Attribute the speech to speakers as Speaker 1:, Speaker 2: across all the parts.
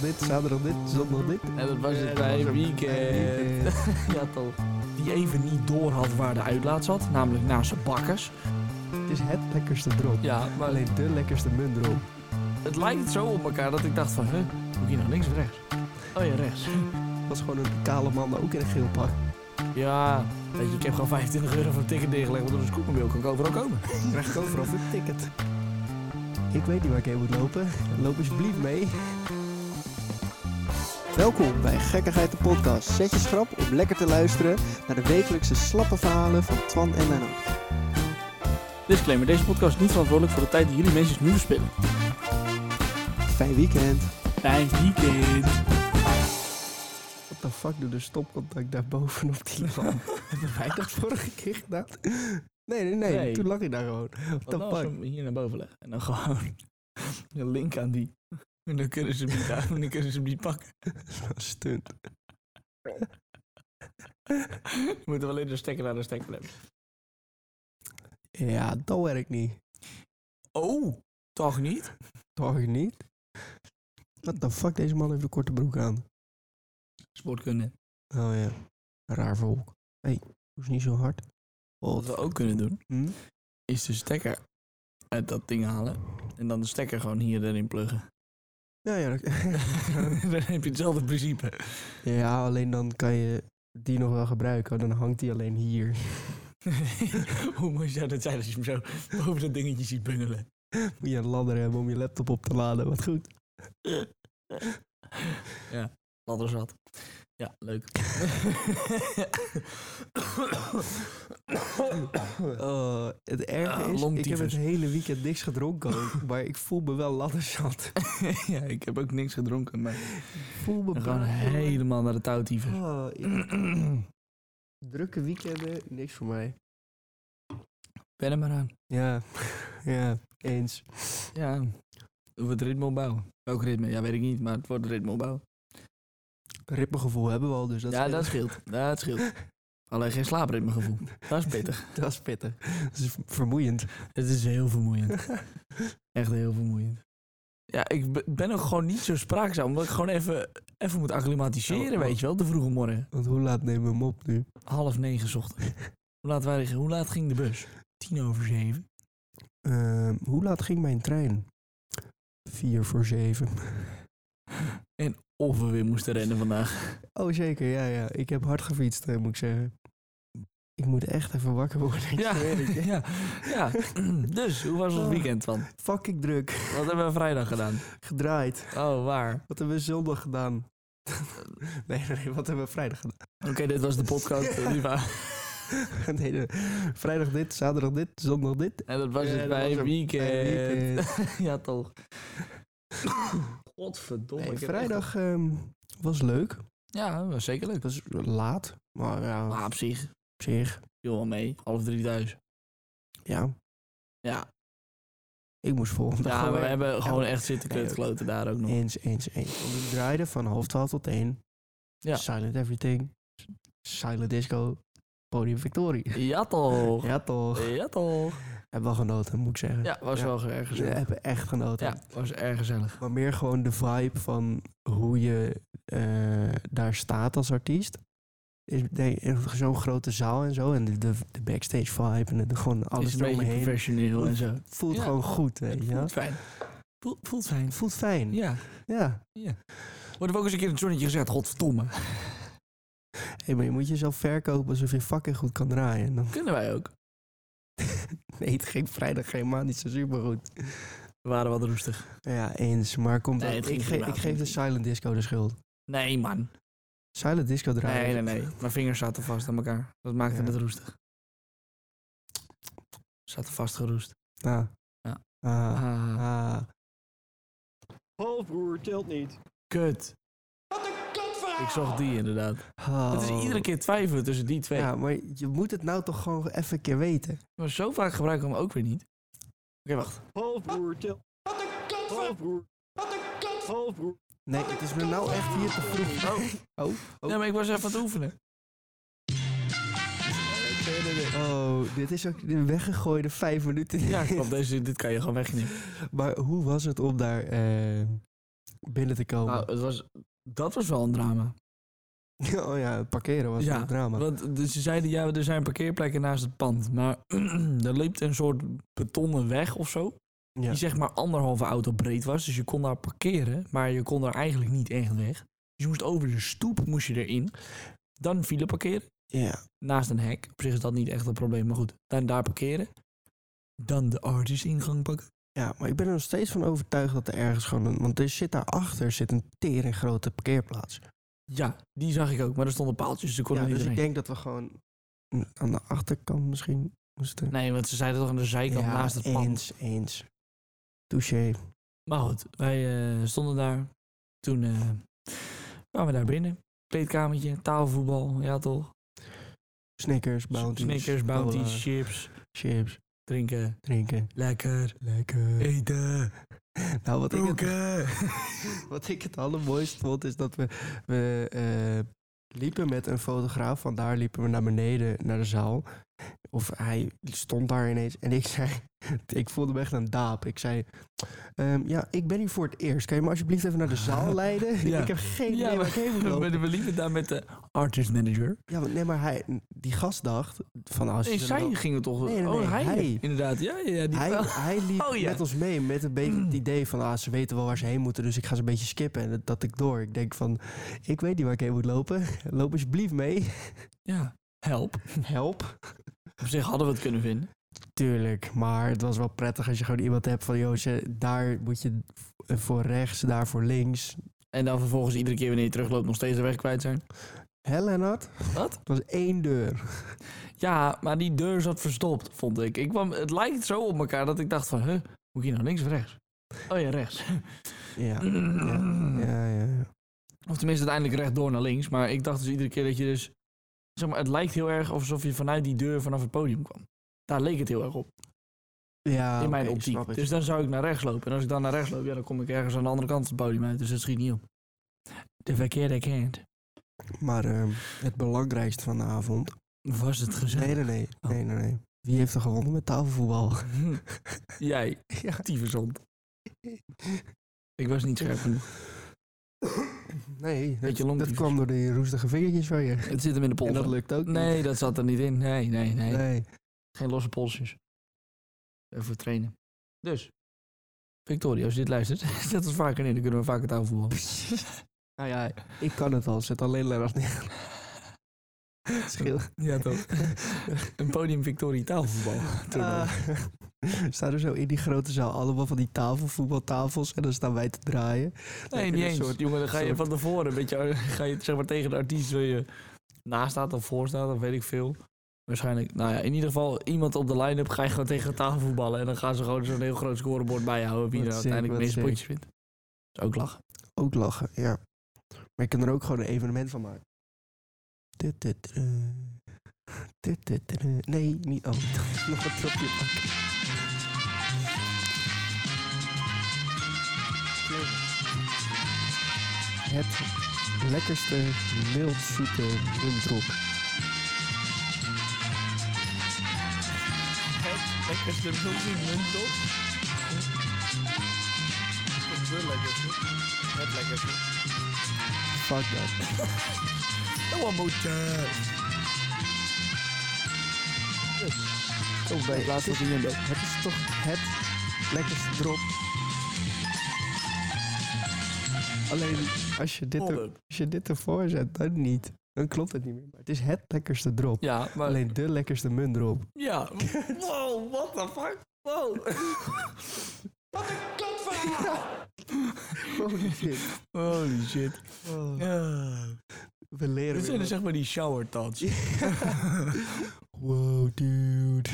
Speaker 1: dit, zaterdag dit, zondag dit.
Speaker 2: En dat was
Speaker 1: Eh,
Speaker 2: het
Speaker 1: dat
Speaker 2: bij
Speaker 1: was het bij
Speaker 2: weekend.
Speaker 1: weekend.
Speaker 2: ja, toch. Die even niet door had waar de uitlaat zat, namelijk naast zijn bakkers.
Speaker 1: Het is het lekkerste drop.
Speaker 2: Ja, maar
Speaker 1: Alleen de lekkerste muntdrop.
Speaker 2: het lijkt zo op elkaar dat ik dacht van, huh, moet ik hier nog links of rechts? Oh ja, rechts.
Speaker 1: Het was gewoon een kale man ook in een geel pak.
Speaker 2: Ja, weet je, ik heb gewoon 25 euro voor een ticket neergelegd, want door een scootmobiel kan ik overal komen.
Speaker 1: Krijg ik overal een ticket. Ik weet niet waar ik heen moet lopen. Loop alsjeblieft mee. Welkom bij Gekkigheid de Podcast. Zet je schrap om lekker te luisteren naar de wekelijkse slappe verhalen van Twan en Menno.
Speaker 2: Disclaimer, deze podcast is niet verantwoordelijk voor de tijd die jullie mensen nu verspillen.
Speaker 1: Fijn weekend.
Speaker 2: Fijn weekend.
Speaker 1: Wat de fuck doet de stopcontact daar boven op die lamp?
Speaker 2: nou
Speaker 1: Hebben wij dat vorige keer gedaan? Nee, nee, nee.
Speaker 2: Nee.
Speaker 1: Toen lag hij daar gewoon. What
Speaker 2: Wat
Speaker 1: the
Speaker 2: nou als we
Speaker 1: fuck?
Speaker 2: hem hier naar boven leggen en dan gewoon een link aan die. En dan kunnen ze hem niet, aan- dan kunnen ze hem niet pakken.
Speaker 1: Stunt.
Speaker 2: We moeten alleen de stekker naar de stekker hebben.
Speaker 1: Ja, dat werkt niet.
Speaker 2: Oh, toch niet?
Speaker 1: Toch niet? What the fuck? Deze man heeft een korte broek aan.
Speaker 2: Sportkunde.
Speaker 1: Oh ja, raar volk. Hé, hey, doe eens niet zo hard.
Speaker 2: Wat we Oh, ook kunnen doen,
Speaker 1: Hm?
Speaker 2: is de stekker uit dat ding halen. En dan de stekker gewoon hier erin pluggen.
Speaker 1: Ja, ja, dat-
Speaker 2: dan heb je hetzelfde principe.
Speaker 1: ja, alleen dan kan je die nog wel gebruiken. want Dan hangt die alleen hier.
Speaker 2: Hoe mooi zou dat zijn als je hem zo boven dat dingetje ziet bungelen?
Speaker 1: Moet je een ladder hebben om je laptop op te laden. Wat goed.
Speaker 2: Ladderzat. Ja, leuk.
Speaker 1: Oh, het erge
Speaker 2: Ah,
Speaker 1: is, ik heb het
Speaker 2: longtyfus.
Speaker 1: hele weekend niks gedronken ook. maar ik voel me wel ladderzat.
Speaker 2: ja, ik heb ook niks gedronken, maar
Speaker 1: Ik voel me
Speaker 2: gewoon
Speaker 1: brak, jongen.
Speaker 2: helemaal naar de touwtieven.
Speaker 1: Oh, ik- drukke weekenden, niks voor mij.
Speaker 2: Ben er maar aan.
Speaker 1: Ja, ja, eens.
Speaker 2: Ja, het wordt ritme opbouwen. Welk ritme? Ja, weet ik niet, maar het wordt ritme opbouwen.
Speaker 1: Rippengevoel hebben we al, dus dat
Speaker 2: ja,
Speaker 1: scheelt.
Speaker 2: dat scheelt. Dat scheelt. Alleen geen slaapritmegevoel. Dat is pittig.
Speaker 1: Dat is pittig. Dat is vermoeiend.
Speaker 2: Het is heel vermoeiend. Echt heel vermoeiend. Ja, ik be- ben ook gewoon niet zo spraakzaam, omdat ik gewoon even, even moet acclimatiseren,
Speaker 1: Oh,
Speaker 2: weet je wel, de vroege morgen.
Speaker 1: Want hoe laat nemen we hem op nu?
Speaker 2: Half negen 's ochtends. Hoe laat, waren, hoe laat ging de bus? Tien over zeven.
Speaker 1: Ehm, hoe laat ging mijn trein? Vier voor zeven.
Speaker 2: Of we weer moesten rennen vandaag.
Speaker 1: Oh, zeker. Ja, ja. Ik heb hard gefietst, eh, moet ik zeggen. Ik moet echt even wakker worden. ik
Speaker 2: Ja,
Speaker 1: zweer het je.
Speaker 2: ja, ja. Dus, hoe was ons
Speaker 1: Oh.
Speaker 2: weekend van?
Speaker 1: Fucking druk.
Speaker 2: Wat hebben we vrijdag gedaan?
Speaker 1: Gedraaid.
Speaker 2: Oh, waar?
Speaker 1: Wat hebben we zondag gedaan? nee, nee, wat hebben we vrijdag gedaan?
Speaker 2: Oké, dit was de podcast, eh, Liva.
Speaker 1: nee, nee. Vrijdag dit, zaterdag dit, zondag dit.
Speaker 2: En dat was het
Speaker 1: Eh, dat
Speaker 2: bij
Speaker 1: was hem.
Speaker 2: weekend. Oh,
Speaker 1: Bij weekend.
Speaker 2: ja, toch. Godverdomme.
Speaker 1: Nee,
Speaker 2: ik heb echt-
Speaker 1: vrijdag ehm, was leuk.
Speaker 2: Ja, dat was zeker leuk.
Speaker 1: Het was laat. Maar ja,
Speaker 2: Maar
Speaker 1: op
Speaker 2: Ah, op zich,
Speaker 1: zich.
Speaker 2: viel wel mee. Half drie thuis.
Speaker 1: Ja,
Speaker 2: Ja,
Speaker 1: ik moest volgende dag
Speaker 2: ja
Speaker 1: gewoon
Speaker 2: we
Speaker 1: werken.
Speaker 2: hebben gewoon echt zitten
Speaker 1: Nee,
Speaker 2: kutkloten daar ook nog.
Speaker 1: Eens, eens, eens. Want we draaiden van half twaalf tot één.
Speaker 2: Ja.
Speaker 1: Silent Everything. Silent Disco. Podium Victory.
Speaker 2: Ja, toch.
Speaker 1: Ja toch.
Speaker 2: Ja, toch.
Speaker 1: Hebben wel genoten, moet ik zeggen.
Speaker 2: Ja, was
Speaker 1: Ja.
Speaker 2: wel erg
Speaker 1: We
Speaker 2: gezellig.
Speaker 1: hebben echt genoten.
Speaker 2: Ja, was erg gezellig.
Speaker 1: Maar meer gewoon de vibe van hoe je eh, daar staat als artiest. Is denk- zo'n grote zaal en zo. En de, de, de backstage vibe. En de, gewoon
Speaker 2: Is
Speaker 1: alles
Speaker 2: een beetje
Speaker 1: eromheen.
Speaker 2: professioneel en zo.
Speaker 1: Voelt
Speaker 2: Ja.
Speaker 1: gewoon goed, weet
Speaker 2: Het
Speaker 1: je wel.
Speaker 2: voelt fijn. Voelt, voelt fijn.
Speaker 1: Voelt fijn.
Speaker 2: Ja.
Speaker 1: ja.
Speaker 2: Wordt er ook eens een keer een zonnetje gezegd, godverdomme.
Speaker 1: Hé, maar je moet jezelf verkopen alsof je fucking goed kan draaien. En dan-
Speaker 2: Kunnen wij ook.
Speaker 1: Nee, het ging vrijdag helemaal niet zo supergoed.
Speaker 2: We waren wat roestig.
Speaker 1: Ja, eens. Maar komt
Speaker 2: Nee,
Speaker 1: dat-
Speaker 2: het ging
Speaker 1: ik, ge-
Speaker 2: prima,
Speaker 1: ik
Speaker 2: het
Speaker 1: geef de
Speaker 2: ging
Speaker 1: Silent Disco de schuld.
Speaker 2: Nee, man.
Speaker 1: Silent Disco draaien.
Speaker 2: Nee, nee, nee. Mijn vingers zaten vast aan elkaar. Dat maakte
Speaker 1: Ja.
Speaker 2: het roestig. Zaten vastgeroest.
Speaker 1: Ah.
Speaker 2: Ja.
Speaker 1: Ah.
Speaker 2: Ah,
Speaker 1: Ah.
Speaker 3: Halfbroer tilt niet.
Speaker 2: kut.
Speaker 3: Wat een kutverhaal!
Speaker 2: Ik zag die inderdaad.
Speaker 1: Oh.
Speaker 2: Het is iedere keer twijfelen tussen die twee.
Speaker 1: Ja, maar je moet het nou toch gewoon even een keer weten.
Speaker 2: Maar zo vaak gebruiken we hem ook weer niet. Oké, wacht.
Speaker 3: Halfbroer tilt. Wat een kutverhaal! Halfbroer. Wat een kutverhaal! Halfbroer.
Speaker 1: Nee, het is me nou echt hier te vroeg.
Speaker 2: Oh.
Speaker 1: Oh, oh.
Speaker 2: Nee, maar ik was even aan het oefenen.
Speaker 1: Nee, nee, nee. Oh, dit is ook de weggegooide vijf minuten.
Speaker 2: Ja, klopt. Deze, dit kan je gewoon wegnemen.
Speaker 1: Maar hoe was het om daar eh, binnen te komen.
Speaker 2: Nou, het was, dat was wel een drama.
Speaker 1: oh ja, het parkeren was
Speaker 2: Ja,
Speaker 1: een drama.
Speaker 2: Want eh, ze zeiden, ja, er zijn parkeerplekken naast het pand. Maar er liep een soort betonnen weg of zo.
Speaker 1: Ja.
Speaker 2: Die zeg maar anderhalve auto breed was. Dus je kon daar parkeren, maar je kon daar eigenlijk niet echt weg. Dus je moest over de stoep moest je erin. Dan file parkeren,
Speaker 1: ja.
Speaker 2: naast een hek. Op zich is dat niet echt een probleem, maar goed. Dan daar parkeren. Dan de artist ingang pakken.
Speaker 1: ja, maar ik ben er nog steeds van overtuigd dat er ergens gewoon... Een, want er zit daarachter zit een tering grote parkeerplaats.
Speaker 2: Ja, die zag ik ook, maar er stonden paaltjes, dus er kon
Speaker 1: Ja,
Speaker 2: er niet
Speaker 1: dus ik
Speaker 2: doorheen.
Speaker 1: denk dat we gewoon mm, aan de achterkant misschien moesten...
Speaker 2: Nee, want ze zeiden toch aan de zijkant
Speaker 1: ja,
Speaker 2: naast het pand.
Speaker 1: eens, eens. Touché.
Speaker 2: Maar goed, wij eh, stonden daar. Toen eh, kwamen we daar binnen. Kleedkamertje, tafelvoetbal, ja toch?
Speaker 1: Snickers, bounties.
Speaker 2: Snickers, bounties,
Speaker 1: cola,
Speaker 2: chips,
Speaker 1: chips,
Speaker 2: drinken,
Speaker 1: drinken.
Speaker 2: lekker,
Speaker 1: Lekker.
Speaker 2: eten.
Speaker 1: Nou, wat ik, het,
Speaker 2: Roken.
Speaker 1: wat ik het allermooist vond, is dat we, we eh, liepen met een fotograaf. Vandaar liepen we naar beneden, naar de zaal. Of hij stond daar ineens. En ik zei, ik voelde me echt een daap. Ik zei, ehm, ja, ik ben hier voor het eerst. Kan je me alsjeblieft even naar de zaal leiden?
Speaker 2: Ja.
Speaker 1: Ik heb geen
Speaker 2: Ja,
Speaker 1: idee waar
Speaker 2: maar
Speaker 1: ik heen moet
Speaker 2: we,
Speaker 1: lopen.
Speaker 2: we- we liepen daar met de artist manager.
Speaker 1: Ja, maar, nee, maar hij, die gast dacht van als je
Speaker 2: Nee,
Speaker 1: er
Speaker 2: zij
Speaker 1: wel-
Speaker 2: gingen toch?
Speaker 1: Nee, nee, nee,
Speaker 2: oh, hij,
Speaker 1: hij.
Speaker 2: Inderdaad, ja, ja, ja, die
Speaker 1: hij,
Speaker 2: wel.
Speaker 1: hij liep
Speaker 2: Oh, ja.
Speaker 1: met ons mee met een beetje het idee van ah, ze weten wel waar ze heen moeten, dus ik ga ze een beetje skippen en dat, dat ik door. Ik denk van, ik weet niet waar ik heen moet lopen. Loop alsjeblieft mee.
Speaker 2: Ja, help.
Speaker 1: Help.
Speaker 2: Op zich hadden we het kunnen vinden.
Speaker 1: Tuurlijk, maar het was wel prettig als je gewoon iemand hebt van, joh, ze- daar moet je v- voor rechts, daar voor links.
Speaker 2: En dan vervolgens iedere keer wanneer je terugloopt nog steeds de weg kwijt zijn.
Speaker 1: Hel en dat.
Speaker 2: Wat?
Speaker 1: Het was één deur.
Speaker 2: Ja, maar die deur zat verstopt, vond ik. ik kwam, het lijkt zo op elkaar dat ik dacht van, huh, moet ik hier nou links of rechts? Oh ja, rechts.
Speaker 1: Ja.
Speaker 2: Mm.
Speaker 1: Ja, ja, ja.
Speaker 2: Of tenminste uiteindelijk rechtdoor naar links. Maar ik dacht dus iedere keer dat je dus... Zeg maar, het lijkt heel erg alsof je vanuit die deur vanaf het podium kwam. Daar leek het heel erg op,
Speaker 1: ja
Speaker 2: in mijn
Speaker 1: oké, snap
Speaker 2: optiek.
Speaker 1: ik.
Speaker 2: Dus dan zou ik naar rechts lopen. En als ik dan naar rechts loop, ja, dan kom ik ergens aan de andere kant van het podium uit. Dus dat schiet niet op. De verkeerde kant.
Speaker 1: Maar ehm, het belangrijkste van de avond
Speaker 2: Was het
Speaker 1: Nee,
Speaker 2: gezellig?
Speaker 1: nee, nee.
Speaker 2: Oh.
Speaker 1: nee, nee, nee. Wie heeft er gewonnen met tafelvoetbal?
Speaker 2: Jij,
Speaker 1: ja.
Speaker 2: tyfusond. Ik was niet scherp genoeg.
Speaker 1: Nee, dat,
Speaker 2: Beetje long
Speaker 1: dat
Speaker 2: tyfus.
Speaker 1: kwam door die roestige vingertjes van je.
Speaker 2: Het zit hem in de
Speaker 1: En
Speaker 2: polsen.
Speaker 1: dat lukt ook niet.
Speaker 2: Nee, dat zat er niet in. Nee, nee, nee.
Speaker 1: Nee.
Speaker 2: Geen losse polsjes. Even trainen. Dus. Victoria, als je dit luistert, zet ons vaker in. Dan kunnen we vaker tafelvoetbal. ah ja.
Speaker 1: Ik kan het al. Zet alleen Lennart neer. Schil.
Speaker 2: Ja, toch. Een podium Victoria
Speaker 1: Ah.
Speaker 2: tafelvoetbal. toernooi.
Speaker 1: staan er zo in die grote zaal allemaal van die tafelvoetbaltafels en dan staan wij te draaien.
Speaker 2: nee,
Speaker 1: heb
Speaker 2: niet
Speaker 1: je
Speaker 2: eens.
Speaker 1: een soort-
Speaker 2: Jongen, dan ga je
Speaker 1: soort-
Speaker 2: van tevoren een beetje... Ga je zeg maar tegen de artiest wil je naast staat of voor staat of weet ik veel. Waarschijnlijk, nou ja, in ieder geval iemand op de line-up ga je gewoon tegen de tafel voetballen. En dan gaan ze gewoon zo'n heel groot scorebord bijhouden. Wie
Speaker 1: Wat
Speaker 2: er
Speaker 1: sick,
Speaker 2: uiteindelijk de
Speaker 1: wat
Speaker 2: meeste
Speaker 1: sick.
Speaker 2: potjes wint. Dat is ook lachen.
Speaker 1: Ook lachen, ja. Maar je kan er ook gewoon een evenement van maken. Tut, tut, tut. Tut, tut, tut. Nee, niet. Oh, ik dacht nog een tropje pakken. Het lekkerste mildzoete bloemdrop.
Speaker 2: Het lekkerste multi-munt op. Het lekkerste. Het lekkerste.
Speaker 1: Fuck dat.
Speaker 2: Oh, een motor.
Speaker 1: Toch Oh, bij laatste wat in Het is toch het lekkerste drop. Alleen als je dit er- Als je dit ervoor zet, dan niet. Dan klopt het niet meer. Maar het is het lekkerste drop.
Speaker 2: Ja, maar...
Speaker 1: Alleen de lekkerste muntdrop.
Speaker 2: Ja. Wow, what the fuck? Wow.
Speaker 3: Wat een kutverhaal!
Speaker 1: Holy shit.
Speaker 2: Holy shit.
Speaker 1: Oh,
Speaker 2: Ja.
Speaker 1: we leren
Speaker 2: Dit
Speaker 1: weer
Speaker 2: zijn dus
Speaker 1: wat.
Speaker 2: zeg maar die shower thoughts.
Speaker 1: Wow, dude.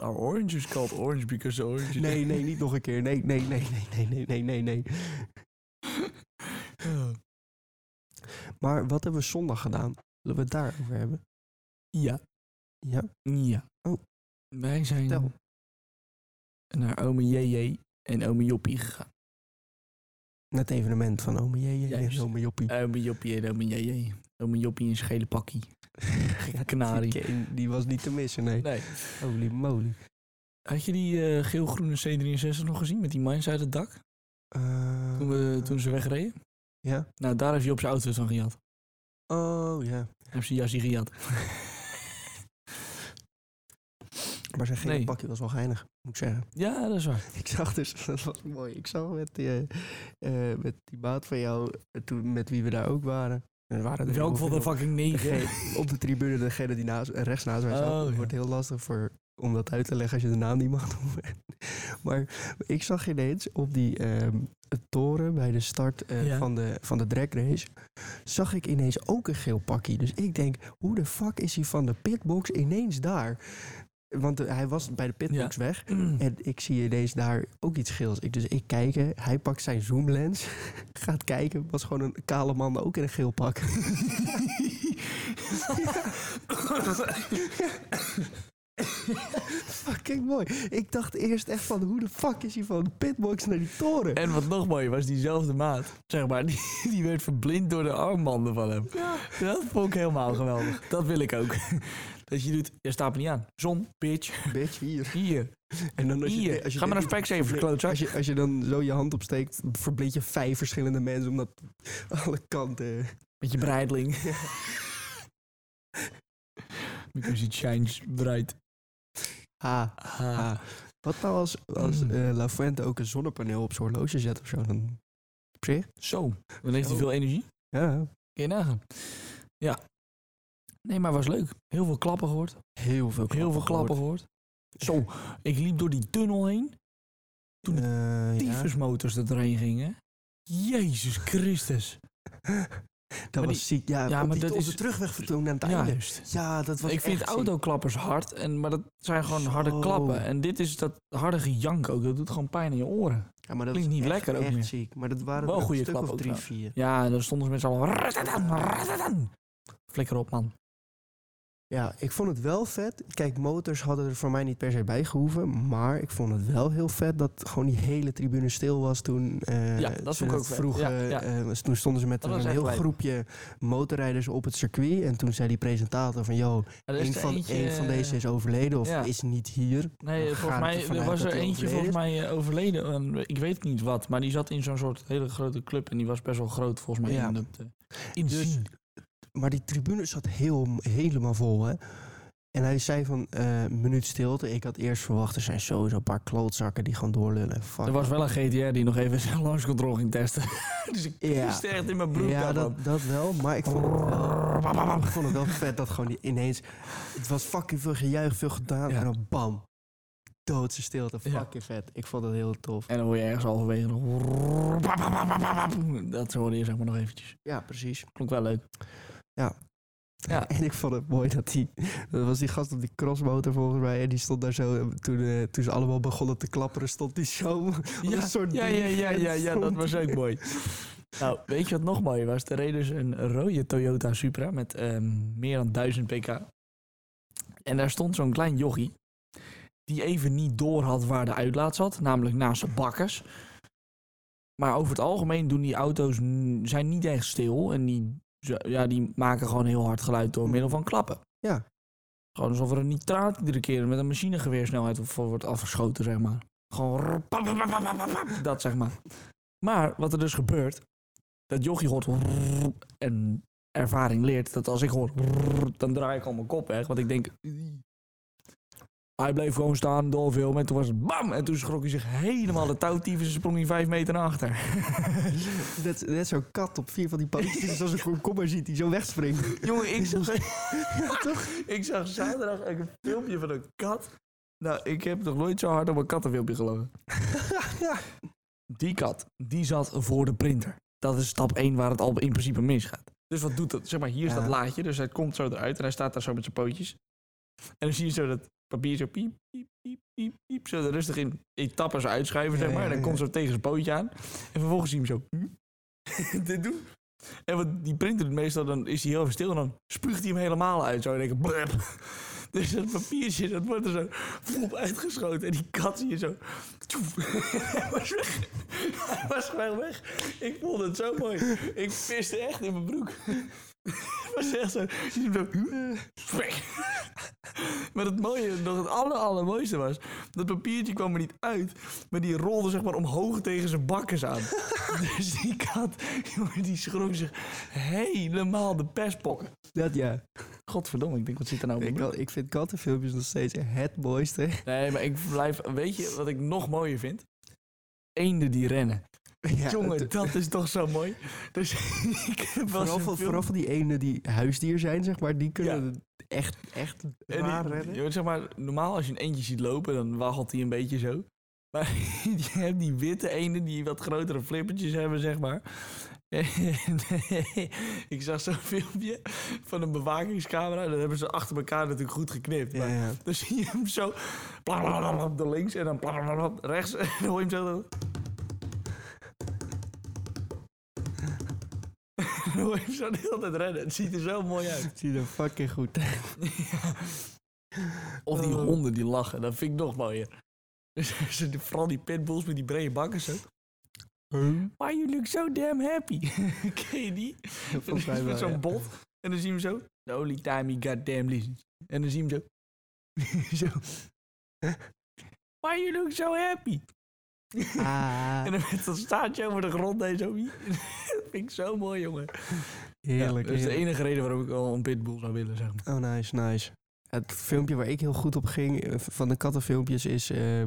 Speaker 2: Our orange is called orange because the orange is...
Speaker 1: Nee, nee, niet nog een keer. Nee, nee, nee, nee, nee, nee, nee, nee, nee. Maar wat hebben we zondag gedaan? Willen we het daarover hebben?
Speaker 2: Ja.
Speaker 1: Ja.
Speaker 2: Ja.
Speaker 1: Oh.
Speaker 2: Wij zijn
Speaker 1: Vertel.
Speaker 2: naar ome JJ en ome Joppie gegaan.
Speaker 1: Het evenement van ome JJ en
Speaker 2: Juist.
Speaker 1: ome Joppie.
Speaker 2: Eh, Ome Joppie en ome JJ. Ome Joppie in zijn gele pakkie.
Speaker 1: Ja,
Speaker 2: kanarie.
Speaker 1: die game, Die was niet te missen, nee.
Speaker 2: Nee.
Speaker 1: Holy moly.
Speaker 2: Had je die eh, geel-groene C63 nog gezien met die mines uit het dak?
Speaker 1: Eh,
Speaker 2: Toen, we, toen ze wegreden.
Speaker 1: Ja.
Speaker 2: Nou, daar heeft hij op zijn auto's van gejat.
Speaker 1: Oh, ja.
Speaker 2: Heb ze jasje gejat.
Speaker 1: Maar zijn gele
Speaker 2: Nee.
Speaker 1: pakje was wel geinig, moet ik zeggen.
Speaker 2: Ja, dat is waar.
Speaker 1: Ik zag dus, dat was mooi. Ik zag met die, eh, eh, met die maat van jou, eh, toen, met wie we daar ook waren. En er waren er
Speaker 2: Welk
Speaker 1: heel
Speaker 2: van de
Speaker 1: veel.
Speaker 2: fucking negen?
Speaker 1: Degene- op de tribune, degene die naast, eh, rechts naast mij zat.
Speaker 2: Oh,
Speaker 1: Het
Speaker 2: ja.
Speaker 1: wordt heel lastig voor, om dat uit te leggen als je de naam niet mag noemen. maar ik zag ineens op die ehm, toren bij de start eh,
Speaker 2: Ja.
Speaker 1: van, de, van de drag race... zag ik ineens ook een geel pakkie. Dus ik denk, hoe de fuck is hij van de pitbox ineens daar? Want eh, hij was bij de pitbox weg. En ik zie ineens daar ook iets geels. Ik, dus ik kijk, hè, hij pakt zijn zoomlens, gaat kijken. Was gewoon een kale man, ook in een geel pak. Fucking mooi. Ik dacht eerst echt van, hoe de fuck is hij van de pitbox naar die toren?
Speaker 2: En wat nog mooier was, diezelfde maat, zeg maar, die, die werd verblind door de armbanden van hem. Dat vond ik helemaal geweldig. Dat wil ik ook. Dat je doet, je staat me niet aan. Zon, bitch,
Speaker 1: Bitch, hier.
Speaker 2: hier,
Speaker 1: En dan
Speaker 2: hier. Ga maar naar Specsavers, klootzak.
Speaker 1: Als je, als je dan zo je hand opsteekt, verblind je vijf verschillende mensen. Omdat alle kanten...
Speaker 2: Met je breidling. Because it shines bright.
Speaker 1: Ha,
Speaker 2: Ah.
Speaker 1: ha. Wat nou als, als
Speaker 2: Mm.
Speaker 1: eh, La Fuente ook een zonnepaneel op zijn horloge zet of zo? Dan... Op zich?
Speaker 2: Zo, dan heeft hij
Speaker 1: Zo.
Speaker 2: veel energie.
Speaker 1: Ja,
Speaker 2: Kun je nagaan. Ja. Nee, maar was leuk. Heel veel klappen gehoord.
Speaker 1: heel veel
Speaker 2: Heel veel klappen gehoord. Zo, ik liep door die tunnel heen. Toen de
Speaker 1: Eh, ja.
Speaker 2: Tyfusmotors dat erheen gingen. Jezus Christus.
Speaker 1: Dat
Speaker 2: Maar
Speaker 1: was ziek. Ja,
Speaker 2: ja,
Speaker 1: op
Speaker 2: maar
Speaker 1: die-
Speaker 2: dat
Speaker 1: op
Speaker 2: is-
Speaker 1: de terugweg toen aan het
Speaker 2: Ja,
Speaker 1: einde.
Speaker 2: juist.
Speaker 1: Ja, dat was
Speaker 2: Ik vind
Speaker 1: echt ziek.
Speaker 2: autoklappers hard, en, maar dat zijn gewoon harde
Speaker 1: Zo.
Speaker 2: klappen. En dit is dat harde gejank ook. Dat doet gewoon pijn in je oren.
Speaker 1: Ja, maar dat
Speaker 2: Klinkt
Speaker 1: is
Speaker 2: niet
Speaker 1: echt,
Speaker 2: lekker ook
Speaker 1: echt
Speaker 2: meer.
Speaker 1: ziek. Maar dat waren
Speaker 2: Wel
Speaker 1: er een
Speaker 2: goede
Speaker 1: stuk
Speaker 2: klap
Speaker 1: of
Speaker 2: ook
Speaker 1: drie,
Speaker 2: trouwens.
Speaker 1: vier.
Speaker 2: Ja, en dan stonden ze met z'n allen... "Ratatan, ratatan." Flikker op, man.
Speaker 1: Ja, ik vond het wel vet. Kijk, motors hadden er voor mij niet per se bij gehoeven. Maar ik vond het wel heel vet dat gewoon die hele tribune stil was toen. eh,
Speaker 2: Ja, dat
Speaker 1: ze
Speaker 2: vond ik ook vet.
Speaker 1: vroegen,
Speaker 2: Ja, ja.
Speaker 1: eh, toen stonden ze met
Speaker 2: Dat
Speaker 1: een
Speaker 2: was echt
Speaker 1: heel
Speaker 2: lijp.
Speaker 1: groepje motorrijders op het circuit. En toen zei die presentator van, joh,
Speaker 2: Er is
Speaker 1: een
Speaker 2: er
Speaker 1: van,
Speaker 2: eentje-
Speaker 1: een van deze is overleden of
Speaker 2: ja.
Speaker 1: is niet hier.
Speaker 2: Nee,
Speaker 1: We
Speaker 2: volgens
Speaker 1: gaan
Speaker 2: mij
Speaker 1: ervan
Speaker 2: er
Speaker 1: uit
Speaker 2: was
Speaker 1: dat
Speaker 2: er
Speaker 1: hij
Speaker 2: eentje volgens
Speaker 1: overleden
Speaker 2: mij eh, overleden. En ik weet niet wat, maar die zat in zo'n soort hele grote club. En die was best wel groot volgens mij.
Speaker 1: Ja.
Speaker 2: In dat, eh, inzien.
Speaker 1: Dus- Maar die tribune zat heel, helemaal vol, hè. En hij zei van, eh, minuut stilte. Ik had eerst verwacht, er zijn sowieso een paar klootzakken die gaan doorlullen. Fuck.
Speaker 2: er was wel een GTR die nog even zijn langscontrole ging testen. dus ik
Speaker 1: Ja.
Speaker 2: ja. echt in mijn broek.
Speaker 1: Ja,
Speaker 2: daarvan.
Speaker 1: dat, dat wel. Maar ik vond, het wel, ik vond het wel vet dat gewoon die ineens... Het was fucking veel gejuich, veel gedaan.
Speaker 2: Ja.
Speaker 1: En dan bam. Doodse stilte.
Speaker 2: Ja.
Speaker 1: Fucking vet. Ik vond het heel tof.
Speaker 2: En dan hoor je ergens halverwege nog... Dat hoorde je zeg maar nog eventjes.
Speaker 1: Ja, precies.
Speaker 2: Klonk wel leuk. Ja.
Speaker 1: En ik vond het mooi dat die... Dat was die gast op die crossmotor volgens mij. En die stond daar zo... eh, Toen, eh, toen ze allemaal begonnen te klapperen, stond die zo... Wat een soort
Speaker 2: ja, ja, ja, ja, ja,
Speaker 1: dirigent
Speaker 2: dat was
Speaker 1: stond
Speaker 2: ook mooi. Nou, weet je wat nog mooier was? Er reed dus een rode Toyota Supra met ehm, meer dan 1000 pk. En daar stond zo'n klein jochie die even niet door had waar de uitlaat zat, namelijk naast zijn bakkers. Maar over het algemeen doen die auto's n- zijn niet echt stil en die, ze- ja, die maken gewoon heel hard geluid door middel van klappen.
Speaker 1: Ja.
Speaker 2: Gewoon alsof er een nitraat iedere keer met een machinegeweersnelheid voor wordt afgeschoten, zeg maar. Gewoon rrr, pap, pap, pap, pap, pap, pap, dat zeg maar. Maar wat er dus gebeurt, dat jochie hoort rrr, en ervaring leert dat als ik hoor, rrr, dan draai ik al mijn kop weg. Want ik denk, "Ui." hij bleef gewoon staan, doorveel. En toen was het bam! En toen schrok hij zich helemaal de touwtieven en sprong hij vijf meter naar achter.
Speaker 1: Net, net zo'n kat op vier van die palietjes. Als een komkommer ziet die zo wegspringt.
Speaker 2: Jongen, ik zag, ik zag zaterdag ook een filmpje van een kat. Nou, ik heb nog nooit zo hard op een kattenfilmpje gelogen. Die kat, die zat voor de printer. Dat is stap 1 waar het al in principe misgaat. Dus wat doet dat? Zeg maar, hier is
Speaker 1: Ja.
Speaker 2: dat laadje, dus hij komt zo eruit en hij staat daar zo met zijn pootjes. En dan zie je zo dat papier zo piep, piep, piep, piep, piep. Zo er rustig in etappes uitschuiven,
Speaker 1: Ja,
Speaker 2: zeg maar.
Speaker 1: ja,
Speaker 2: En dan
Speaker 1: ja.
Speaker 2: komt zo tegen zijn pootje aan. En vervolgens zie je hem zo... hm, dit doen. En wat die printer doet meestal, dan is hij heel even stil en dan spuugt hij hem helemaal uit. Zo en denk ik, blep. Dus dat papiertje, dat wordt er zo flop uitgeschoten. En die kat zie je zo... tjoef. Hij was weg. Hij was gewoon weg. Ik vond het zo mooi. Ik piste echt in mijn broek. Het was echt zo... Je ziet hem zo... weg. Maar het mooie, nog het aller, allermooiste was... dat papiertje kwam er niet uit... maar die rolde zeg maar omhoog tegen zijn bakkes aan. dus die kat, jongen, die schrok zich helemaal de perspokken.
Speaker 1: Dat ja.
Speaker 2: Godverdomme, ik denk, wat zit er nou op mijn
Speaker 1: Ik,
Speaker 2: broek?
Speaker 1: kan- ik vind kattenfilmpjes nog steeds het mooiste.
Speaker 2: Nee, maar ik blijf... Weet je wat ik nog mooier vind? Eenden die rennen.
Speaker 1: Ja,
Speaker 2: Jongen,
Speaker 1: het-
Speaker 2: dat is toch zo mooi. Dus ik heb wel
Speaker 1: vooral,
Speaker 2: eens
Speaker 1: van,
Speaker 2: een
Speaker 1: vooral van die ene die huisdier zijn, zeg maar, die kunnen
Speaker 2: Ja.
Speaker 1: het echt, echt
Speaker 2: En
Speaker 1: raar
Speaker 2: die-
Speaker 1: redden.
Speaker 2: je weet, zeg maar, normaal als je een eentje ziet lopen, dan waggelt hij een beetje zo. Maar je hebt die witte ene die wat grotere flippertjes hebben, zeg maar. En ik zag zo'n filmpje van een bewakingscamera. Dat hebben ze achter elkaar natuurlijk goed geknipt.
Speaker 1: Ja,
Speaker 2: Maar
Speaker 1: ja.
Speaker 2: dan zie je hem zo blablabla naar links en dan blablabla rechts. En dan hoor je hem zo... Dan hoor je hem zo de hele tijd rennen. Het ziet er zo mooi uit.
Speaker 1: Het ziet er fucking goed uit.
Speaker 2: Of die
Speaker 1: Oh.
Speaker 2: honden die lachen, dat vind ik nog mooier. Dus ze- Vooral die pitbulls met die brede bakken zo. Why you look so damn happy? Ken je die?
Speaker 1: Volgens mij wel,
Speaker 2: met zo'n
Speaker 1: ja.
Speaker 2: bot. En dan zie je hem zo. The only time he got damn listens. En dan zie je hem zo. zo. Why you look so happy?
Speaker 1: Ah,
Speaker 2: En dan met dat staartje over de grond en zo. dat vind ik zo mooi, jongen.
Speaker 1: heerlijk.
Speaker 2: Ja, dat is de
Speaker 1: heerlijk.
Speaker 2: enige reden waarom ik al een pitbull zou willen, zeg maar.
Speaker 1: dus Oh, nice, nice. Het filmpje waar ik heel goed op ging eh, van de kattenfilmpjes is eh,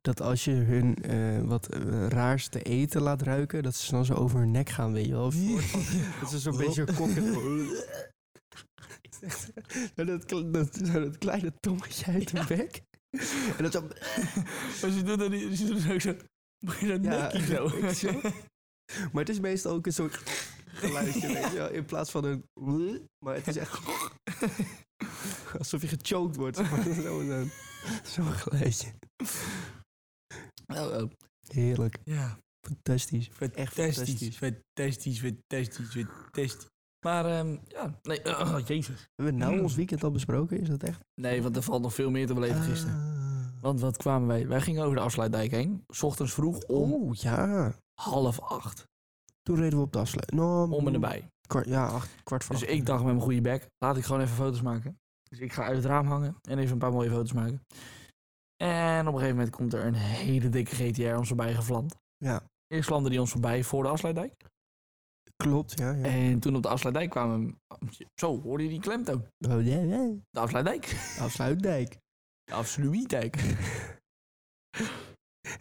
Speaker 1: dat als je hun eh, wat eh, raars te eten laat ruiken, dat ze dan zo over hun nek gaan, weet je wel. Of een soort van- Dat ze zo'n beetje kokken. Zo dat, kle- dat, zo dat kleine tongetje uit de bek. En dat zo...
Speaker 2: Maar ze doen dat niet- ze doen dat ook zo. Begin dat
Speaker 1: Ja,
Speaker 2: nekje zo.
Speaker 1: ik zo. Maar het is meestal ook een soort geluidje, weet je wel, In plaats van een... Maar het is echt... Alsof je gechoked wordt. zeg maar. Zo'n eh, zo'n geluidje.
Speaker 2: Oh, oh.
Speaker 1: Heerlijk.
Speaker 2: Ja,
Speaker 1: Fantastisch.
Speaker 2: fantastisch, fantastisch, fantastisch, fantastisch. Maar ehm, ja, nee, jezus.
Speaker 1: Hebben we nou
Speaker 2: Mm.
Speaker 1: ons weekend al besproken? Is dat echt?
Speaker 2: Nee, want er valt nog veel meer te beleven gisteren.
Speaker 1: Ah.
Speaker 2: Want wat kwamen wij? Wij gingen over de afsluitdijk heen. 's ochtends vroeg om
Speaker 1: Oh, ja.
Speaker 2: half acht.
Speaker 1: Toen reden we op de afsluit. Nou,
Speaker 2: Om en erbij.
Speaker 1: kwart- ja, acht, kwart voor
Speaker 2: Dus
Speaker 1: acht.
Speaker 2: ik dacht met mijn goede bek, laat ik gewoon even foto's maken. Dus ik ga uit het raam hangen en even een paar mooie foto's maken. En op een gegeven moment komt er een hele dikke GTR ons voorbij gevlamd.
Speaker 1: Ja.
Speaker 2: Eerst vlamde die ons voorbij voor de afsluitdijk.
Speaker 1: Klopt, ja. ja.
Speaker 2: En toen op de afsluitdijk kwamen... we- Zo, hoorde je die klemtoon?
Speaker 1: Oh, ja, ja.
Speaker 2: De afsluitdijk.
Speaker 1: Afsluitdijk.
Speaker 2: Afsluitdijk.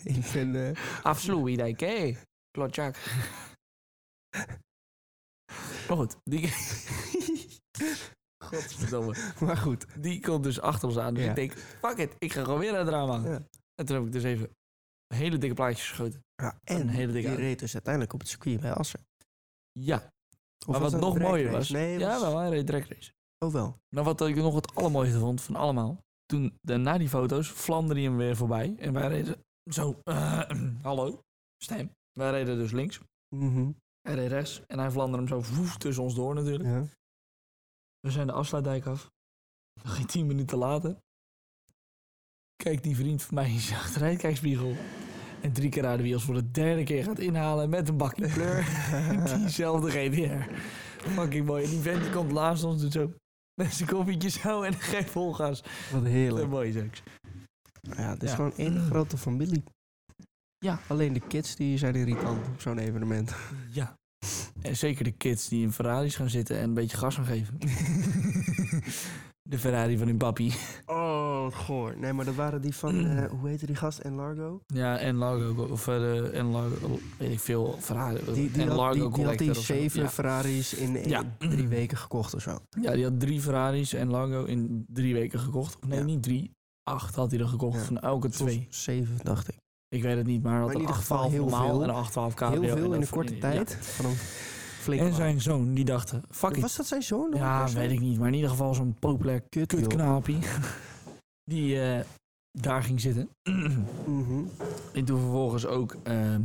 Speaker 1: ik ben... eh,
Speaker 2: Afsluitdijk, hé. Klotjak. Maar goed, die... Godverdomme.
Speaker 1: maar goed.
Speaker 2: Die komt dus achter ons aan. Dus
Speaker 1: Ja.
Speaker 2: ik denk, fuck it, ik ga gewoon weer uit het raam hangen.
Speaker 1: Ja.
Speaker 2: En toen heb ik dus even hele dikke plaatjes geschoten.
Speaker 1: Ja,
Speaker 2: Een
Speaker 1: en
Speaker 2: hele dikke
Speaker 1: die
Speaker 2: auto.
Speaker 1: reed dus uiteindelijk op het circuit bij Assen.
Speaker 2: Ja,
Speaker 1: Of
Speaker 2: maar
Speaker 1: was
Speaker 2: wat
Speaker 1: dat
Speaker 2: nog
Speaker 1: een
Speaker 2: mooier
Speaker 1: dragrace?
Speaker 2: was...
Speaker 1: Nee,
Speaker 2: ja,
Speaker 1: was-
Speaker 2: wel, hij reed direct race.
Speaker 1: Oh, wel.
Speaker 2: Maar wat ik nog het allermooiste vond van allemaal... Toen, de- na die foto's, vlamde die hem weer voorbij. En wij reden zo... eh, hallo, stem. Wij reden dus links.
Speaker 1: Mhm,
Speaker 2: Hij reed rechts en hij vlamde hem zo woef tussen ons door natuurlijk.
Speaker 1: ja.
Speaker 2: We zijn de afsluitdijk af. Nog geen tien minuten later. Kijk die vriend van mij in zijn achteruitkijkspiegel. En drie keer raden wie ons voor de derde keer gaat inhalen met een bakje kleur. Diezelfde GDR. Fucking mooi. En die vent die komt laatst ons doet zo met zijn koffietje zo en geeft vol gas.
Speaker 1: Wat
Speaker 2: Dat is
Speaker 1: heerlijk.
Speaker 2: mooi seks.
Speaker 1: Ja, het is
Speaker 2: Ja.
Speaker 1: gewoon één grote familie.
Speaker 2: Ja.
Speaker 1: Alleen de kids die zijn irritant op zo'n evenement.
Speaker 2: Ja. En zeker de kids die in Ferraris gaan zitten en een beetje gas gaan geven. de Ferrari van hun papi.
Speaker 1: Oh, goor. Nee, maar dat waren die van, eh, hoe heette die gast? En Largo?
Speaker 2: Ja, en Largo, of eh, de- en Largo, weet ik veel, Ferrari.
Speaker 1: Die, die,
Speaker 2: en
Speaker 1: had,
Speaker 2: Largo
Speaker 1: die, die had die
Speaker 2: Collector of zo.
Speaker 1: zeven
Speaker 2: Ja.
Speaker 1: Ferraris in één-
Speaker 2: Ja.
Speaker 1: drie weken gekocht of zo.
Speaker 2: Ja, die had drie Ferraris en Largo in drie weken gekocht. Of Nee,
Speaker 1: Ja.
Speaker 2: niet drie, acht had hij er gekocht
Speaker 1: Ja.
Speaker 2: van elke
Speaker 1: Of
Speaker 2: twee.
Speaker 1: Zeven, dacht ik.
Speaker 2: Ik weet het niet, maar hij had
Speaker 1: Maar in
Speaker 2: een
Speaker 1: ieder geval
Speaker 2: 812
Speaker 1: heel
Speaker 2: normaal
Speaker 1: veel.
Speaker 2: en een 812 cabrio.
Speaker 1: Heel
Speaker 2: en
Speaker 1: veel in een
Speaker 2: dat-
Speaker 1: korte
Speaker 2: ja.
Speaker 1: tijd. Van een flinke
Speaker 2: En zijn zoon, die dacht, eh, fuck
Speaker 1: baan.
Speaker 2: it.
Speaker 1: Was dat zijn zoon? dan?
Speaker 2: Ja,
Speaker 1: Was dat-
Speaker 2: weet ik niet, maar in ieder geval zo'n populair
Speaker 1: Kut, joh.
Speaker 2: kutknapie. die eh, daar ging zitten.
Speaker 1: Mhm.
Speaker 2: en toen vervolgens ook eh,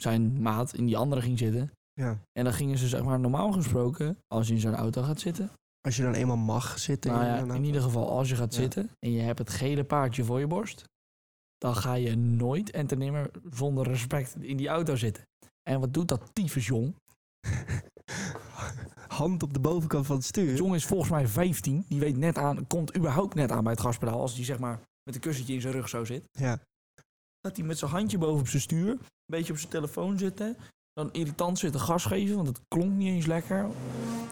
Speaker 2: zijn maat in die andere ging zitten.
Speaker 1: Ja.
Speaker 2: En dan gingen ze, zeg maar, normaal gesproken, als je in zo'n auto gaat zitten.
Speaker 1: Als je dan eenmaal mag zitten.
Speaker 2: Nou
Speaker 1: in
Speaker 2: ja,
Speaker 1: een
Speaker 2: in
Speaker 1: auto.
Speaker 2: ieder geval, als je gaat
Speaker 1: Ja.
Speaker 2: zitten en je hebt het gele paardje voor je borst. Dan ga je nooit en ten nimmer zonder respect in die auto zitten. En wat doet dat tyfus jong?
Speaker 1: eh, hand op de bovenkant van het stuur.
Speaker 2: De jongen is volgens mij 15. Die weet net aan, komt überhaupt net aan bij het gaspedaal. Als die zeg maar met een kussentje in zijn rug zo zit.
Speaker 1: Ja.
Speaker 2: Dat hij met zijn handje boven op zijn stuur. Een beetje op zijn telefoon zitten. Dan irritant zitten gas geven, want het klonk niet eens lekker.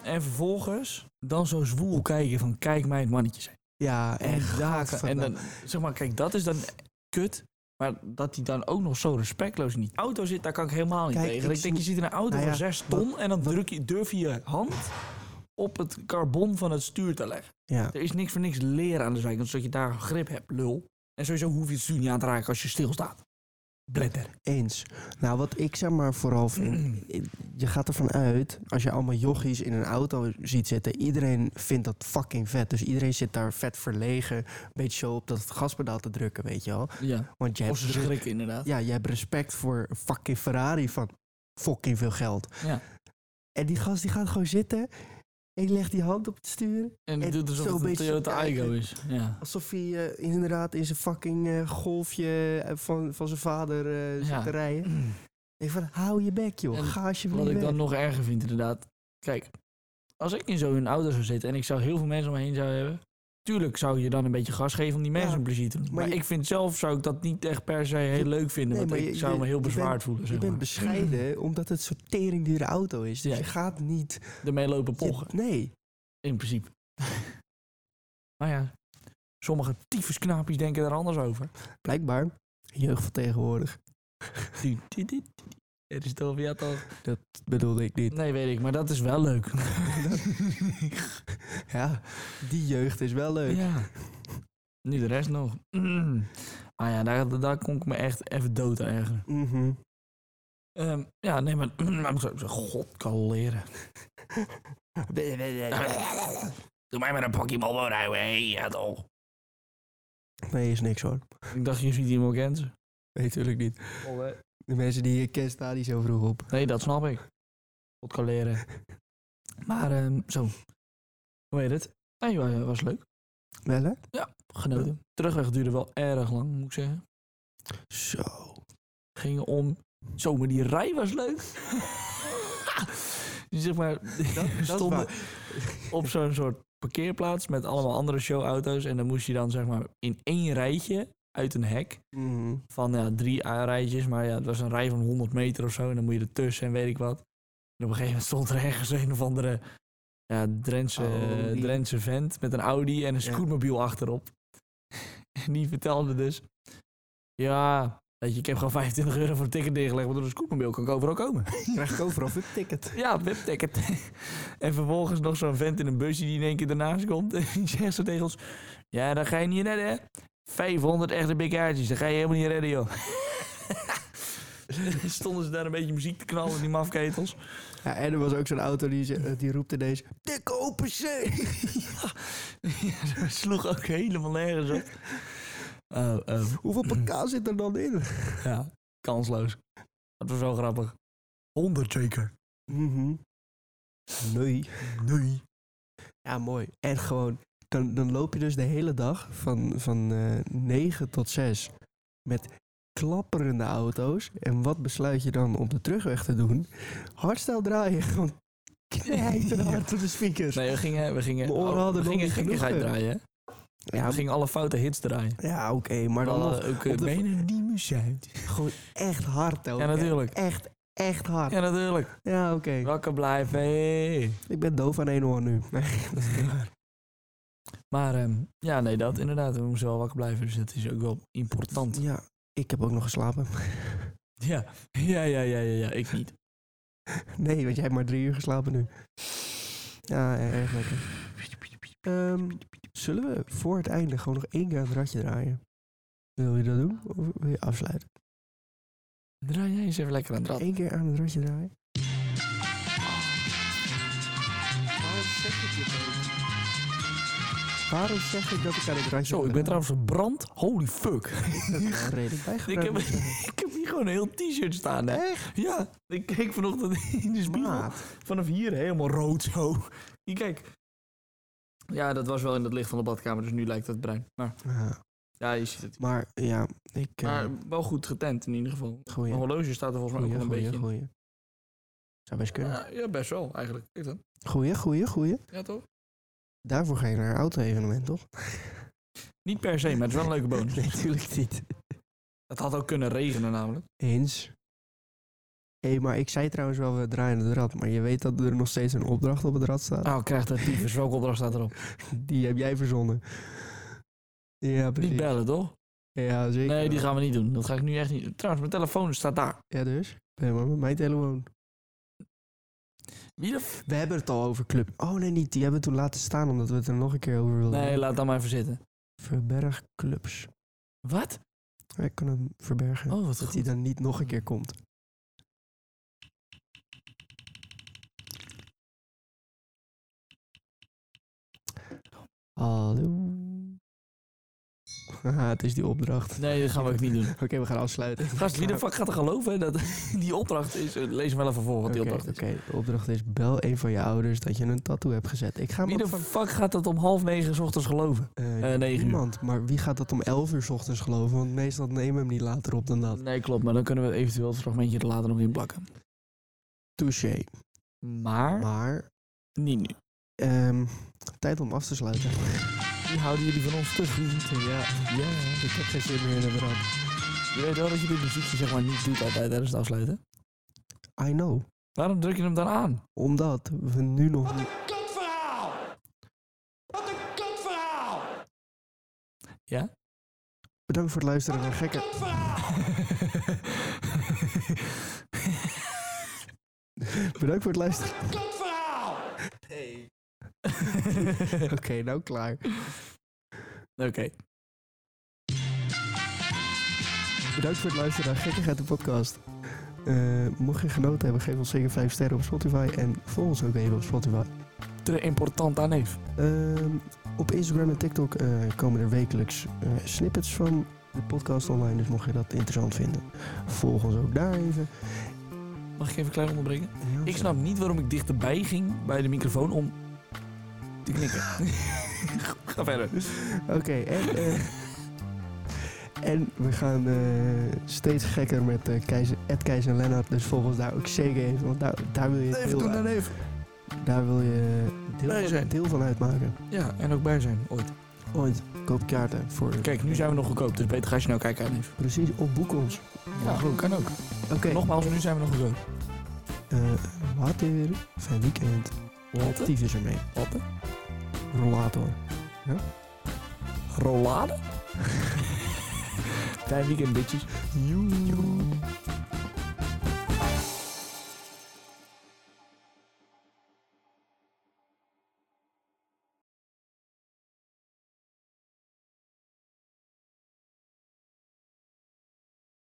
Speaker 2: En vervolgens dan zo zwoel kijken van kijk mij het mannetje zijn.
Speaker 1: Ja, echt.
Speaker 2: En, daken. en
Speaker 1: gadverdamme.
Speaker 2: dan, zeg maar, kijk, dat is dan kut. Maar dat hij dan ook nog zo respectloos in die auto zit, daar kan ik helemaal niet
Speaker 1: Kijk,
Speaker 2: tegen.
Speaker 1: ik
Speaker 2: Ik, denk, je zit in een auto
Speaker 1: Nou ja,
Speaker 2: van 6 ton en dan druk je, durf je je hand op het carbon van het stuur te leggen.
Speaker 1: Ja.
Speaker 2: Er is niks voor niks leren aan de zijkant, zodat je daar grip hebt, lul. En sowieso hoef je het stuur niet aan te raken als je stilstaat. Bledder.
Speaker 1: Eens. Nou, wat ik zeg maar vooral
Speaker 2: Mm.
Speaker 1: vind. Je gaat ervan uit, als je allemaal jochies in een auto ziet zitten, iedereen vindt dat fucking vet. Dus iedereen zit daar vet verlegen, een beetje zo op dat gaspedaal te drukken, weet je wel.
Speaker 2: Ja,
Speaker 1: Want je
Speaker 2: of
Speaker 1: hebt,
Speaker 2: ze
Speaker 1: re-
Speaker 2: schrikken inderdaad.
Speaker 1: ja, je hebt respect voor een fucking Ferrari van fucking veel geld.
Speaker 2: Ja.
Speaker 1: En die gast die gaat gewoon zitten. Ik leg die hand op het stuur.
Speaker 2: En
Speaker 1: En
Speaker 2: het doet alsof
Speaker 1: zo'n
Speaker 2: het een
Speaker 1: beetje
Speaker 2: Toyota
Speaker 1: kijken.
Speaker 2: Igo is. Ja.
Speaker 1: Alsof hij eh, inderdaad in zijn fucking eh, golfje eh, van, van zijn vader eh, zit
Speaker 2: Ja. Mm.
Speaker 1: te rijden. Ik van, hou je bek joh,
Speaker 2: En
Speaker 1: ga alsjeblieft
Speaker 2: Wat ik
Speaker 1: weg.
Speaker 2: dan nog erger vind, inderdaad. Kijk, als ik in zo'n auto zou zitten en ik zou heel veel mensen om me heen zou hebben. Tuurlijk zou je dan een beetje gas geven om die mensen
Speaker 1: Ja,
Speaker 2: een plezier te doen. Maar,
Speaker 1: je-
Speaker 2: ik vind zelf zou ik dat niet echt per se heel leuk vinden.
Speaker 1: nee,
Speaker 2: want
Speaker 1: maar
Speaker 2: ik
Speaker 1: je-
Speaker 2: zou me
Speaker 1: je-
Speaker 2: heel
Speaker 1: je
Speaker 2: bezwaard
Speaker 1: bent-
Speaker 2: voelen.
Speaker 1: Je
Speaker 2: Zeg
Speaker 1: bent
Speaker 2: maar. Mm.
Speaker 1: bescheiden omdat het zo'n teringdure auto is. Dus
Speaker 2: Ja.
Speaker 1: je gaat niet...
Speaker 2: Ermee lopen
Speaker 1: je-
Speaker 2: pochen,
Speaker 1: nee.
Speaker 2: in principe. maar ja, sommige tyfusknaapjes denken daar anders over.
Speaker 1: Blijkbaar. Jeugd van tegenwoordig.
Speaker 2: Die- die- die- Er is toch ja toch?
Speaker 1: Bedoelde ik niet.
Speaker 2: Nee, weet ik, maar dat is wel leuk.
Speaker 1: Ja, die jeugd is wel leuk.
Speaker 2: Ja. Nu de rest nog. Mm. Ah ja, daar, daar kon ik me echt even dood ergeren.
Speaker 1: Mhm.
Speaker 2: Ehm, ja, nee, maar... maar ik zou- God kan leren. Doe mij maar een pakje Marlboro Highway, ja toch.
Speaker 1: Nee, is niks hoor.
Speaker 2: Ik dacht, je ziet iemand kennen.
Speaker 1: Nee, natuurlijk niet. De mensen die je kent staan die zo vroeg op.
Speaker 2: Nee, dat snap ik. God kan leren. Maar, ehm, zo. Hoe heet het? Nee, wa- was leuk.
Speaker 1: Wel hè?
Speaker 2: Genoten. Terugweg duurde wel erg lang, moet ik zeggen.
Speaker 1: Zo.
Speaker 2: Gingen om... Zo, maar die rij was leuk. zeg maar...
Speaker 1: is
Speaker 2: stonden-
Speaker 1: waar.
Speaker 2: op zo'n soort parkeerplaats met allemaal andere showauto's. En dan moest je dan zeg maar in één rijtje uit een hek
Speaker 1: Mhm.
Speaker 2: van ja, drie a- rijtjes. Maar ja, het was een rij van 100 meter of zo. En dan moet je er tussen en weet ik wat. En op een gegeven moment stond er ergens een of andere ja, Drentse, eh,
Speaker 1: Audi.
Speaker 2: Drentse vent met een Audi en een
Speaker 1: Ja.
Speaker 2: scootmobiel achterop. en die vertelde dus... Ja, weet je, ik heb gewoon 25 euro voor een ticket neergelegd. Maar door een scootmobiel kan ik overal komen.
Speaker 1: Krijg ik overal een ticket.
Speaker 2: Ja, webticket. en vervolgens nog zo'n vent in een busje die in één keer ernaast komt. En die zegt zo tegen ons... Ja, dan ga je niet redden, hè? 500 echte big aardjes, dat ga je helemaal niet redden, joh. Stonden ze daar een beetje muziek te knallen, die mafketels.
Speaker 1: Ja, en er was ook zo'n auto die, ze- eh, die roept ineens... Dikke open zee!
Speaker 2: Ja, dat sloeg ook helemaal nergens op. Oh, oh,
Speaker 1: Hoeveel pk zit er dan in?
Speaker 2: ja, kansloos. Dat was wel grappig. 100 zeker?
Speaker 1: Mhm. Nee.
Speaker 2: Nee.
Speaker 1: Ja, mooi. En gewoon, dan, dan loop je dus de hele dag van, van eh 9 tot 6 met klapperende auto's. En wat besluit je dan om de terugweg te doen? Hardstijl draaien, gewoon knijten hard op de speakers.
Speaker 2: Nee, we gingen, we gingen, oh,
Speaker 1: Mijn oren hadden
Speaker 2: we
Speaker 1: nog
Speaker 2: gingen
Speaker 1: niet genoeg,
Speaker 2: gekkigheid
Speaker 1: eh.
Speaker 2: draaien. hè.
Speaker 1: Ja,
Speaker 2: We gingen alle foute hits draaien.
Speaker 1: ja oké, maar dan nog
Speaker 2: eh, ook
Speaker 1: op de-
Speaker 2: benen die muziek uit.
Speaker 1: gewoon echt hard. Ook.
Speaker 2: eh, Ja, natuurlijk.
Speaker 1: Echt, echt hard. Ja,
Speaker 2: Ja, natuurlijk.
Speaker 1: oké.
Speaker 2: Wakker blijven. hey.
Speaker 1: Ik ben doof aan één oor nu. Nee, dat is niet waar.
Speaker 2: Maar ehm, ja, nee, dat inderdaad. We moesten wel wakker blijven, dus dat is ook wel important.
Speaker 1: Ja, ik heb ook nog geslapen.
Speaker 2: Ja, ja, ja, ja, ja, ja ik niet.
Speaker 1: Nee, want jij hebt maar drie uur geslapen nu. Ja, e- erg lekker. Ehm, zullen we voor het einde gewoon nog één keer het radje draaien? Wil je dat doen? Of wil je afsluiten?
Speaker 2: Draai jij eens even lekker aan het rad.
Speaker 1: Eén keer aan het radje draaien? Waarom zeg ik dat ik aan het radje
Speaker 2: Zo, ik ben trouwens verbrand. Holy fuck.
Speaker 1: redelijk
Speaker 2: Ik heb,
Speaker 1: bijgebracht.
Speaker 2: ik heb hier gewoon een heel t-shirt staan, hè.
Speaker 1: Echt?
Speaker 2: Ja, ik keek vanochtend in de spiegel.
Speaker 1: Maat.
Speaker 2: Vanaf hier helemaal rood zo. Hier, kijk. Ja, dat was wel in het licht van de badkamer, dus nu lijkt het bruin. Maar
Speaker 1: Ja,
Speaker 2: ja, je ziet het.
Speaker 1: maar ja, ik... eh
Speaker 2: Maar wel goed getent in ieder geval.
Speaker 1: goeie,
Speaker 2: Mijn horloge staat er volgens mij ook
Speaker 1: goeie,
Speaker 2: wel een
Speaker 1: goeie,
Speaker 2: beetje in.
Speaker 1: goeie. Zou best kunnen.
Speaker 2: Ja, ja, best wel eigenlijk. Ik dan.
Speaker 1: Goeie, goeie, goeie.
Speaker 2: Ja, toch?
Speaker 1: Daarvoor ga je naar een auto-evenement, toch?
Speaker 2: Niet per se, maar het is wel een leuke bonus.
Speaker 1: Nee, natuurlijk niet.
Speaker 2: Het had ook kunnen regenen namelijk.
Speaker 1: Eens. Hé, maar ik zei trouwens wel, we draaien het rad. Maar je weet dat er nog steeds een opdracht op het rad staat.
Speaker 2: Oh, krijgt dat tyfus. Welke opdracht staat erop?
Speaker 1: Die heb jij verzonnen. Ja,
Speaker 2: Niet
Speaker 1: precies.
Speaker 2: bellen, toch?
Speaker 1: Ja, zeker.
Speaker 2: Nee, die
Speaker 1: wel.
Speaker 2: gaan we niet doen. Dat ga ik nu echt niet... Trouwens, mijn telefoon staat daar.
Speaker 1: Ja, dus? Nee, maar met mijn telefoon.
Speaker 2: Wie de f-
Speaker 1: We hebben het al over club. Oh nee, niet. Die hebben we toen laten staan omdat we het er nog een keer over wilden.
Speaker 2: Nee,
Speaker 1: hebben.
Speaker 2: laat dat maar even zitten.
Speaker 1: Verberg clubs.
Speaker 2: Wat?
Speaker 1: Wij kunnen hem verbergen.
Speaker 2: Oh, wat
Speaker 1: dat hij
Speaker 2: goed. Hmm.
Speaker 1: dan niet nog een keer komt. Hallo. Haha, het is die opdracht.
Speaker 2: Nee, dat gaan we ook niet doen.
Speaker 1: Oké, we gaan afsluiten.
Speaker 2: Gast, wie de fuck gaat er geloven hè, dat die opdracht is... eh, Lees maar even voor wat die
Speaker 1: Oké,
Speaker 2: opdracht is.
Speaker 1: oké, de opdracht is bel een van je ouders dat je een tattoo hebt gezet. Ik ga hem
Speaker 2: Wie de
Speaker 1: ook van-
Speaker 2: fuck gaat dat om half negen 's ochtends geloven?
Speaker 1: Eh,
Speaker 2: eh, negen uur.
Speaker 1: niemand, maar wie gaat dat om 11 uur 's ochtends geloven? Want meestal nemen we hem niet later op dan dat.
Speaker 2: Nee, klopt. Maar dan kunnen we eventueel het fragmentje er later nog in plakken.
Speaker 1: Touché.
Speaker 2: Maar
Speaker 1: Maar,
Speaker 2: niet nu.
Speaker 1: ehm, tijd om af te sluiten.
Speaker 2: Die houden jullie van ons te goed.
Speaker 1: Ja,
Speaker 2: Ja,
Speaker 1: ik heb geen zin meer in de brand.
Speaker 2: je weet wel dat je dit muziekje zeg maar niet doet altijd tijdens het afsluiten.
Speaker 1: I know.
Speaker 2: Waarom druk je hem dan aan?
Speaker 1: Omdat we nu nog
Speaker 3: Wat
Speaker 1: niet...
Speaker 3: een kutverhaal! Wat een kutverhaal!
Speaker 2: Ja?
Speaker 1: Bedankt voor het luisteren naar gekke...
Speaker 3: Kutverhaal!
Speaker 1: Bedankt voor
Speaker 3: Wat
Speaker 1: het luisteren.
Speaker 3: een kutverhaal!
Speaker 1: Oké, nou klaar.
Speaker 2: Oké.
Speaker 1: Bedankt voor het luisteren naar Gekkigheid de podcast. Eh, mocht je genoten hebben, geef ons zeker 5 sterren op Spotify. En volg ons ook even op Spotify.
Speaker 2: Très important aan neef.
Speaker 1: Ehm, op Instagram en TikTok eh, komen er wekelijks eh, snippets van de podcast online. Dus mocht je dat interessant vinden, volg ons ook daar even.
Speaker 2: Mag ik even klein onderbreken?
Speaker 1: Ja,
Speaker 2: Ik snap niet waarom ik dichterbij ging bij de microfoon om te knikken. Ga verder.
Speaker 1: Oké, en, eh, en we gaan eh, steeds gekker met eh Keizer, Ed Keizer en Lennart. Dus volg ons daar ook zeker even. Want daar, daar wil je deel,
Speaker 2: dan even.
Speaker 1: daar wil je
Speaker 2: Bij
Speaker 1: deel,
Speaker 2: zijn.
Speaker 1: deel van uitmaken.
Speaker 2: Ja, en ook bij zijn ooit.
Speaker 1: Ooit koop kaarten voor.
Speaker 2: Kijk, nu zijn we nog goedkoop, dus beter ga je snel kijken aan neef.
Speaker 1: Precies, of boek ons.
Speaker 2: Ja, goed, kan ook.
Speaker 1: Oké.
Speaker 2: Nogmaals, nu zijn we nog goedkoop.
Speaker 1: Eh, wat weer? Fijn weekend.
Speaker 2: Latte?
Speaker 1: Actief is ermee.
Speaker 2: Latte?
Speaker 1: Rollator.
Speaker 2: Rollade? Fijn weekend, bitches.
Speaker 1: Joe.